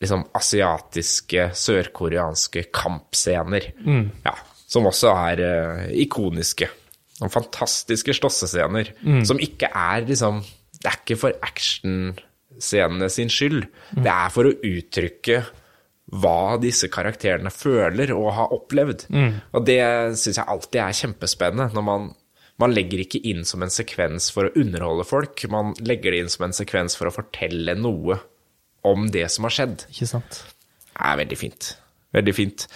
S1: liksom asiatiske, sørkoreanske kampscener. Ja, som også er eh, ikoniske. Noen fantastiske slåssescener. Som ikke er liksom Det er ikke for actionscenene sin skyld. Det er for å uttrykke hva disse karakterene føler og har opplevd. Og det syns jeg alltid er kjempespennende. når man man legger ikke inn som en sekvens for å underholde folk, man legger det inn som en sekvens for å fortelle noe om det som har skjedd
S2: Ikke sant?
S1: er veldig fint. Veldig fint.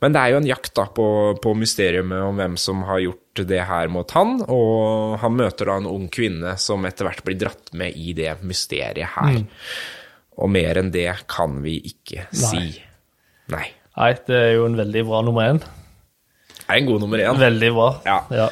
S1: Men det er jo en jakt da, på, på mysteriet om hvem som har gjort det her mot han, og han møter da en ung kvinne som etter hvert blir dratt med i det mysteriet her. Og mer enn det kan vi ikke si. Nei.
S2: Nei, det er jo en veldig bra nummer én.
S1: Det er en god nummer én.
S2: Veldig bra.
S1: Ja.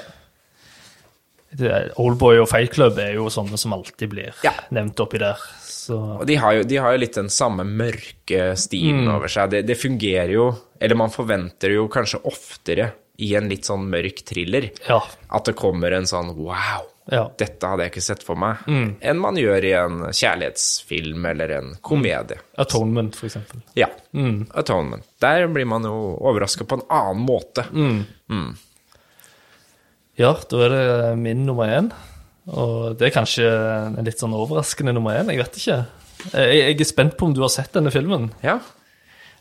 S2: Det er- Oldboy og Fight Club er jo sånne som alltid blir
S1: Ja.
S2: nevnt oppi der. Så
S1: Og de har, jo, de har jo litt den samme mørke stilen over seg. Det, det fungerer jo, eller man forventer jo kanskje oftere i en litt sånn mørk thriller,
S2: ja.
S1: at det kommer en sånn wow.
S2: ja.
S1: dette hadde jeg ikke sett for meg, enn man gjør i en kjærlighetsfilm eller en komedie.
S2: Atonement, for eksempel.
S1: Ja. Mm. Atonement. Der blir man jo overraska på en annen måte.
S2: Ja, da er det min nummer én. Og det er kanskje en litt sånn overraskende nummer én, jeg vet ikke. Eh, Jeg, jeg er spent på om du har sett denne filmen.
S1: Ja.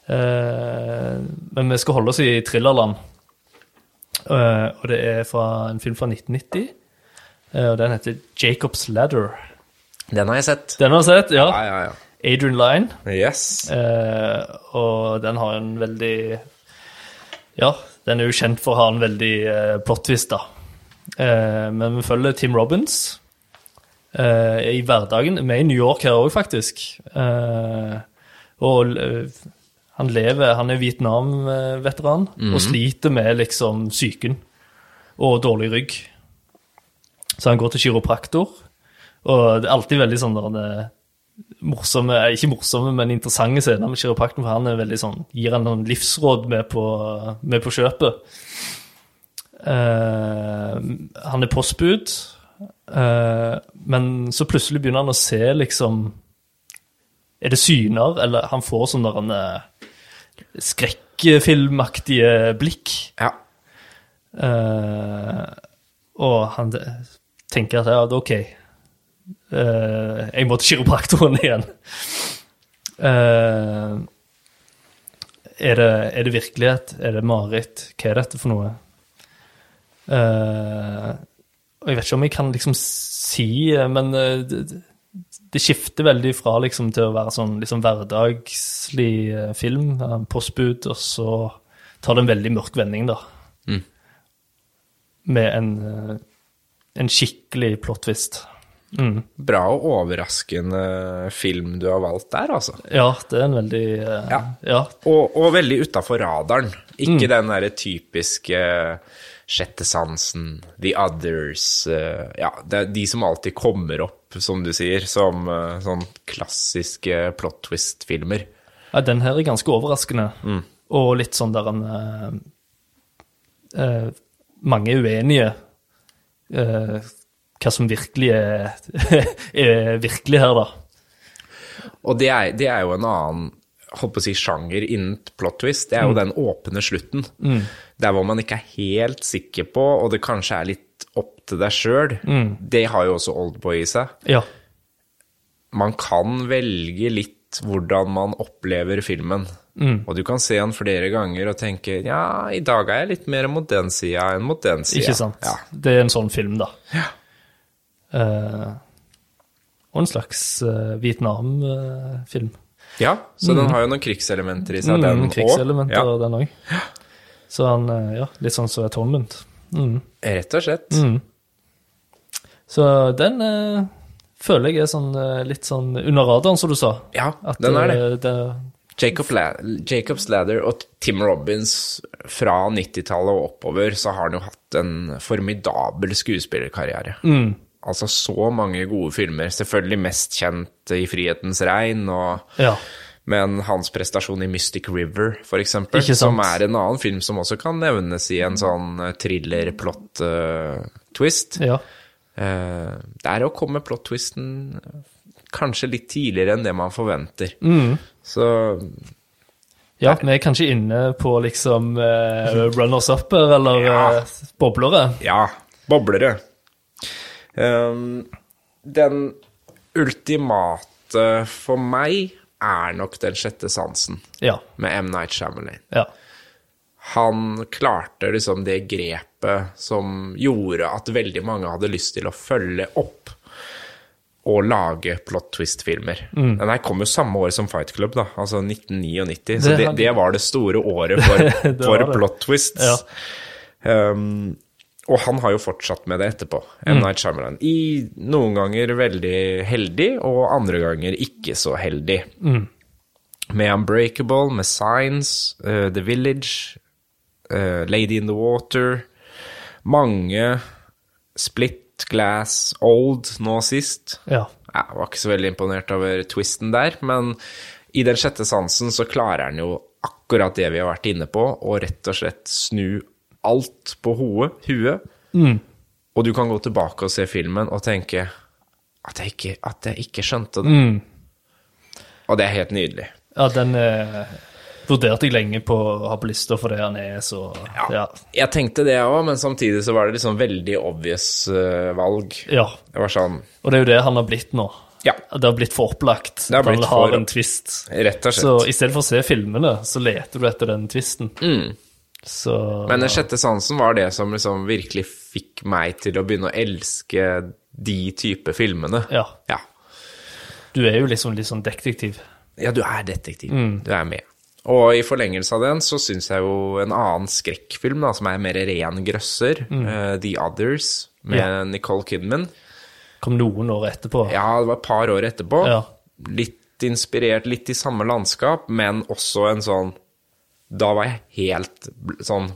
S2: Eh, men vi skal holde oss i thrillerland. Eh, og det er fra en film fra 1990. eh, og den heter 'Jacob's Ladder'.
S1: Den har jeg sett.
S2: Den har du sett?
S1: Ja,
S2: Ja.
S1: ja, ja.
S2: Adrian Lyne.
S1: Yes.
S2: Eh, og den har en veldig Ja, den er jo kjent for å ha en veldig eh, plot twist, da. Eh, men vi følger Tim Robins eh, i hverdagen. Vi er i New York her òg, faktisk. Eh, og eh, han lever Han er Vietnam-veteran og sliter med liksom psyken og dårlig rygg. Så han går til kiropraktor, og det er alltid veldig sånn der han er morsomme, eh, ikke morsomme, men interessante scener med kiroprakten, for han er veldig sånn, gir han noen livsråd med på, med på kjøpet. Eh, han er postbud, eh, men så plutselig begynner han å se liksom Er det syner, eller han får sånne der, eh, skrekkfilmaktige blikk.
S1: Ja.
S2: Eh, og han tenker at ja, det er ok, Eh, jeg må til kiropraktoren igjen. Eh, er, det, er det virkelighet? Er det mareritt? Hva er dette for noe? Eh, og jeg vet ikke om jeg kan liksom si, eh, men eh, det, det- det skifter veldig fra liksom til å være sånn liksom hverdagslig eh, film, eh, postbud, og så tar det en veldig mørk vending, da med en, eh, en skikkelig plot twist. Mm.
S1: Bra og overraskende film du har valgt der, altså.
S2: Ja, det er en veldig eh,
S1: Ja.
S2: ja.
S1: Og, og veldig utafor radaren. Ikke den derre typiske eh, sjette sansen, the others eh, Ja, det er de som alltid kommer opp, som du sier, som eh, sånn klassiske plot twist-filmer.
S2: ja, den her er ganske overraskende. Og litt sånn der en eh, eh, Mange er uenige eh, hva som virkelig er, er virkelig her, da.
S1: Og det er, det er jo en annen holdt på å si, sjanger innen plot twist. Det er jo den åpne slutten. Der hvor man ikke er helt sikker på, og det kanskje er litt opp til deg sjøl. Det har jo også Oldboy i seg.
S2: Ja.
S1: man kan velge litt hvordan man opplever filmen.
S2: Mm.
S1: Og du kan se den flere ganger og tenke ja, i dag er jeg litt mer mot den sida enn mot den sida.
S2: Ikke sant?
S1: Ja.
S2: Det er en sånn film, da. Eh, og en slags eh, Vietnam-film.
S1: Ja, så den har jo noen krigselementer i seg, den
S2: Mm,
S1: også.
S2: krigselementer,
S1: Ja,
S2: den òg. Så han eh, Ja, litt sånn som Atonement. Mm.
S1: rett og slett.
S2: Så den eh, føler jeg er sånn eh, litt sånn under radaren, som du sa.
S1: Ja, den er det.
S2: eh,
S1: Jacob La Jacob's Ladder og Tim Robbins fra 90-tallet og oppover, så har han jo hatt en formidabel skuespillerkarriere.
S2: Mm.
S1: Altså så mange gode filmer. Selvfølgelig mest kjent i 'Frihetens regn', og,
S2: Ja.
S1: men hans prestasjon i 'Mystic River', for eksempel,
S2: Ikke sant.
S1: som er en annen film som også kan nevnes i en sånn eh, thriller-plot-twist.
S2: ja.
S1: Eh, der å komme plot-twisten eh, kanskje litt tidligere enn det man forventer.
S2: Mm.
S1: Så
S2: Ja, vi er kanskje inne på liksom eh, runners-upper eller
S1: Ja.
S2: eh, boblere.
S1: ja, boblere. Ehm, den ultimate for meg er nok Den sjette sansen
S2: Ja.
S1: med M. Night Shyamalan.
S2: ja.
S1: Han klarte liksom det grepet som gjorde at veldig mange hadde lyst til å følge opp og lage plot twist-filmer.
S2: Mm.
S1: Den her kom jo samme år som Fight Club, da, altså 1999. Så
S2: Det
S1: det,
S2: hadde-
S1: det var det store året for,
S2: Det var
S1: for
S2: det.
S1: plot twists.
S2: Ja. Mm.
S1: Um, og han har jo fortsatt med det etterpå, M. Night Shyamalan. I noen ganger veldig heldig, og andre ganger ikke så heldig.
S2: Mm.
S1: Med Unbreakable, med Signs, eh, The Village, eh, Lady in the Water Mange. Split, Glass, Old nå sist.
S2: ja.
S1: Jeg var ikke så veldig imponert over twisten der, men i den sjette sansen så klarer han jo akkurat det vi har vært inne på, og rett og slett snu alt på hodet. huet. Og du kan gå tilbake og se filmen og tenke at jeg ikke, at jeg ikke skjønte det. Og det er helt nydelig.
S2: Ja, den eh, vurderte jeg lenge på å ha på lista fordi han er så Ja.
S1: Jeg tenkte det òg, men samtidig så var det liksom veldig obvious eh, valg.
S2: ja.
S1: Det var sånn
S2: Og det er jo det han har blitt nå.
S1: Ja.
S2: Det har blitt for opplagt.
S1: har
S2: at han
S1: blitt
S2: har
S1: for-
S2: en twist.
S1: Rett og slett.
S2: Så i stedet for å se filmene, så leter du etter den twisten. Så
S1: Mm. Men den sjette sansen var det som liksom virkelig fikk meg til å begynne å elske de type filmene.
S2: ja,
S1: Ja,
S2: du er jo liksom litt sånn detektiv.
S1: Ja, du er detektiv.
S2: Mm.
S1: Du er med. Og i forlengelse av den så syns jeg jo en annen skrekkfilm da, som er mer ren grøsser, eh, The Others, med
S2: Mm. Ja.
S1: Nicole Kidman.
S2: Kom noen år etterpå.
S1: Ja, det var et par år etterpå.
S2: Ja.
S1: Litt inspirert, litt i samme landskap, men også en sånn Da var jeg helt bl- sånn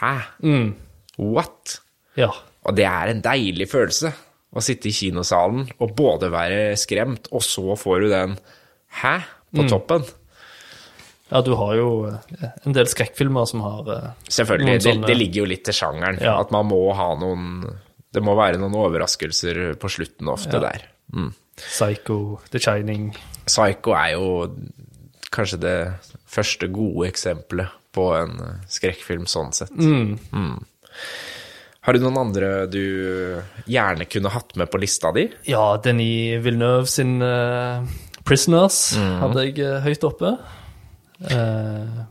S1: Hæ?
S2: Mm.
S1: What?
S2: Ja.
S1: Og det er en deilig følelse å sitte i kinosalen og både være skremt, og så får du den hæ på
S2: Mm.
S1: toppen.
S2: ja, du har jo eh, en del skrekkfilmer som har eh,
S1: Selvfølgelig.
S2: noen
S1: Det,
S2: sånne-
S1: det ligger jo litt til sjangeren.
S2: Ja.
S1: At man må ha noen Det må være noen overraskelser på slutten ofte der. Mm.
S2: Psycho, The Shining
S1: Psycho er jo kanskje det første gode eksempelet på en eh, skrekkfilm sånn sett. Mm. Har du noen andre du gjerne kunne hatt med på lista di?
S2: Ja, Denis Villeneuve sin eh, Prisoners
S1: Mm.
S2: hadde jeg eh, høyt oppe. Eh,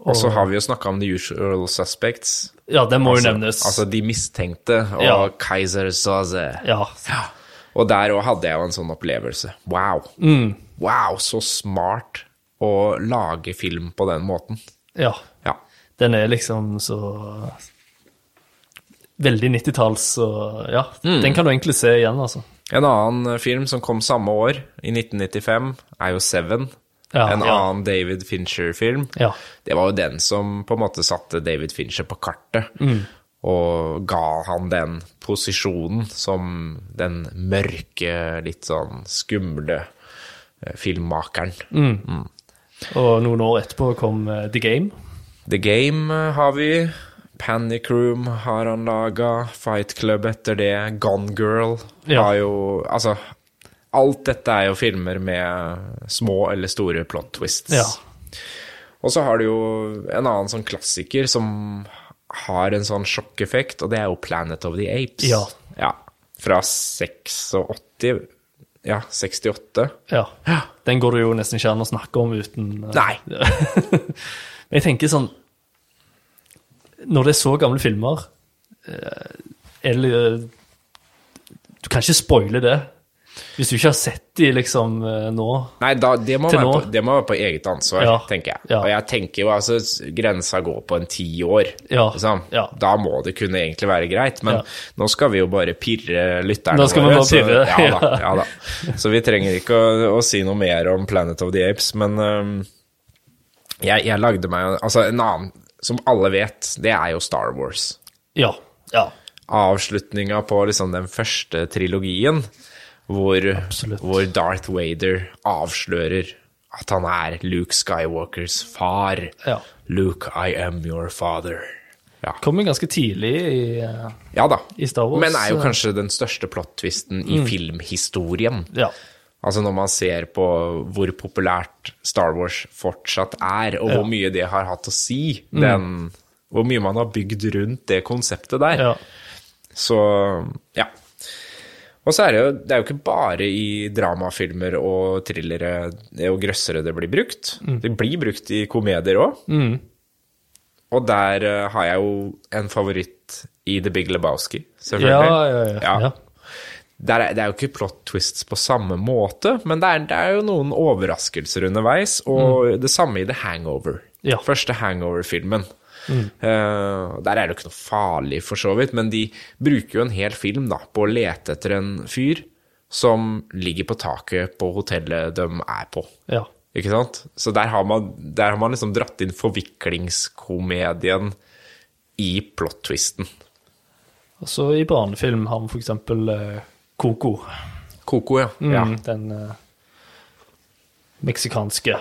S1: Og så har vi jo snakka om The Usual Suspects.
S2: ja, den må
S1: altså,
S2: jo nevnes.
S1: Altså De mistenkte og
S2: Ja.
S1: Kaiser Soze.
S2: ja,
S1: Ja. Og der òg hadde jeg jo en sånn opplevelse. Wow.
S2: Mm.
S1: Wow, så smart å lage film på den måten.
S2: Ja.
S1: Ja.
S2: Den er liksom så Veldig 90-talls og Ja, den kan du egentlig se igjen, altså.
S1: En annen eh, film som kom samme år, i 1995, er jo Seven.
S2: Ja,
S1: en
S2: ja.
S1: annen David Fincher-film.
S2: Ja.
S1: Det var jo den som på en måte satte David Fincher på kartet.
S2: Mm.
S1: Og ga han den posisjonen som den mørke, litt sånn skumle eh, filmmakeren.
S2: Mm. Og noen år etterpå kom eh, The Game.
S1: The Game eh, har vi. Panic Room har han laga. Fight Club etter det. Gone Girl
S2: Ja.
S1: har jo Altså, alt dette er jo filmer med små eller store plot twists.
S2: Ja.
S1: Og så har du jo en annen sånn klassiker som har en sånn sjokkeffekt, og det er jo Planet of the Apes.
S2: Ja.
S1: ja fra 86 Ja, 68.
S2: Ja.
S1: Ja.
S2: Den går det jo nesten ikke an å snakke om uten eh,
S1: Nei.
S2: Men jeg tenker sånn Når det er så gamle eh, filmer eh, Eller Du kan ikke spoile det. Hvis du ikke har sett de liksom eh, nå
S1: Nei, da, det, må
S2: Til
S1: være
S2: nå?
S1: på, det må være på eget ansvar,
S2: Ja.
S1: tenker jeg.
S2: Ja.
S1: Og jeg tenker jo altså s- grensa går på en ti år,
S2: Ja.
S1: liksom.
S2: Ja.
S1: Da må det kunne egentlig være greit, men
S2: Ja.
S1: nå skal vi jo bare pirre lytterne
S2: Nå skal vi bare
S1: så-
S2: pirre,
S1: ja, da, ja da. Så vi trenger ikke å, å si noe mer om Planet of the Apes, men øhm, jeg, jeg lagde meg Altså, en annen som alle vet, det er jo Star Wars
S2: Ja. ja.
S1: avslutninga på liksom den første trilogien, hvor,
S2: Absolutt.
S1: hvor Darth Vader avslører at han er Luke Skywalkers far.
S2: Ja.
S1: Luke, I am your father. Ja,
S2: Kommer ganske tidlig i eh,
S1: ja da.
S2: I Star Wars,
S1: Men er jo
S2: eh, Mm.
S1: kanskje den største plot-twisten i filmhistorien.
S2: Ja.
S1: Altså når man ser på hvor populært Star Wars fortsatt er, og hvor mye det har hatt å si,
S2: Mm.
S1: den, hvor mye man har bygd rundt det konseptet der.
S2: ja.
S1: Så ja. Og så er det jo, det er jo ikke bare i dramafilmer og thrillere og grøssere det blir brukt.
S2: Mm.
S1: Det blir brukt i komedier òg. Og der eh, har jeg jo en favoritt i The Big Lebowski, selvfølgelig.
S2: Ja, ja, ja. Ja.
S1: Der er, det er jo ikke plot twists på samme måte, men det er, det er jo noen overraskelser underveis. Og det samme i The Hangover.
S2: Ja.
S1: Første Hangover-filmen. Eh, der er det jo ikke noe farlig, for så vidt, men de bruker jo en hel film da, på å lete etter en fyr som ligger på taket på hotellet de er på.
S2: ja.
S1: Ikke sant? Så der har man, der har man liksom dratt inn forviklingskomedien i plot twisten.
S2: Og så i barnefilm har vi for eksempel eh, Coco.
S1: Coco, ja. ja.
S2: Mm, Den eh, meksikanske.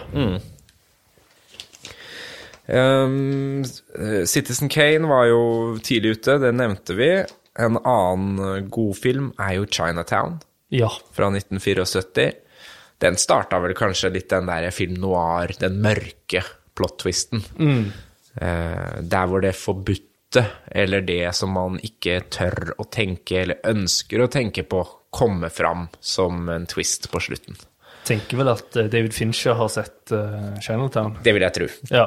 S1: Um, eh, Citizen Kane var jo tidlig ute, det nevnte vi. En annen eh, god film er jo Chinatown
S2: Ja.
S1: fra 1974. Den starta vel kanskje litt den der film noir, den mørke plot-twisten. Eh, der hvor det forbudte, eller det som man ikke tør å tenke eller ønsker å tenke på, kommer fram som en twist på slutten.
S2: Tenker vel at eh, David Fincher har sett eh, Chinatown.
S1: Det vil jeg tro.
S2: Ja.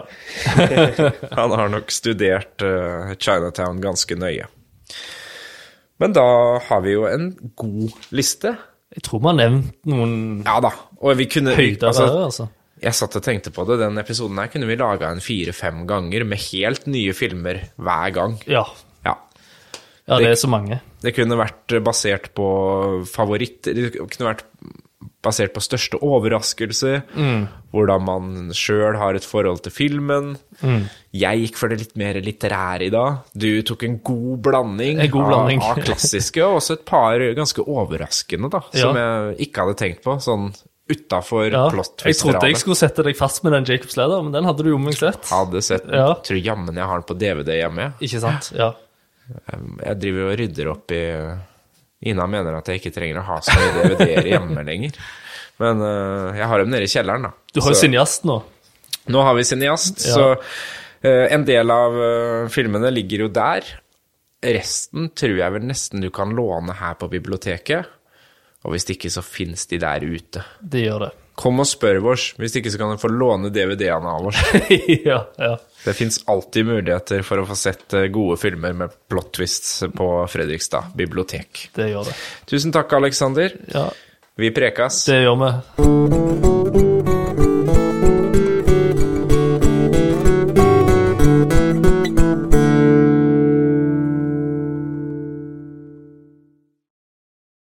S1: Han har nok studert eh, Chinatown ganske nøye. Men da har vi jo en god liste.
S2: Jeg tror vi har nevnt noen
S1: Ja da. Og vi kunne
S2: høyder
S1: altså,
S2: der, altså.
S1: Jeg satt og tenkte på det. Den episoden her kunne vi laga en fire-fem ganger med helt nye filmer hver gang.
S2: Ja.
S1: Ja.
S2: ja, det er så mange.
S1: Det kunne vært basert på favoritter, det kunne vært basert på største overraskelse,
S2: Mm.
S1: hvordan man sjøl har et forhold til filmen.
S2: Mm.
S1: Jeg gikk for det litt mer litterære i dag. Du tok en god blanding,
S2: En god blanding.
S1: Av, av klassiske, og også et par ganske overraskende, da, som jeg ikke hadde tenkt på. sånn Utafor
S2: Ja.
S1: plot
S2: Jeg trodde jeg
S1: twisteranet.
S2: skulle sette deg fast med den Jacobs Ladder, men den hadde du jo meg sett.
S1: Hadde sett den.
S2: Ja.
S1: Tror jammen jeg har den på DVD hjemme. jeg.
S2: Ikke sant? Ja.
S1: Jeg driver og rydder opp i Ina mener at jeg ikke trenger å ha så mye DVD-er hjemme lenger. Men øh, jeg har dem nede i kjelleren, da.
S2: Du har jo
S1: Så-
S2: cineast nå.
S1: Nå har vi cineast,
S2: Ja.
S1: så øh, en del av øh, filmene ligger jo der. Resten tror jeg vel nesten du kan låne her på biblioteket. Og hvis ikke, så fins de der ute.
S2: Det gjør det.
S1: Kom og spør oss. Hvis ikke, så kan du få låne DVD-ene av oss.
S2: ja, ja.
S1: Det fins alltid muligheter for å få sett øh, gode filmer med plot twists på Fredrikstad bibliotek.
S2: Det gjør det.
S1: Tusen takk, Aleksander.
S2: Ja,
S1: Vi prekas.
S2: det gjør vi.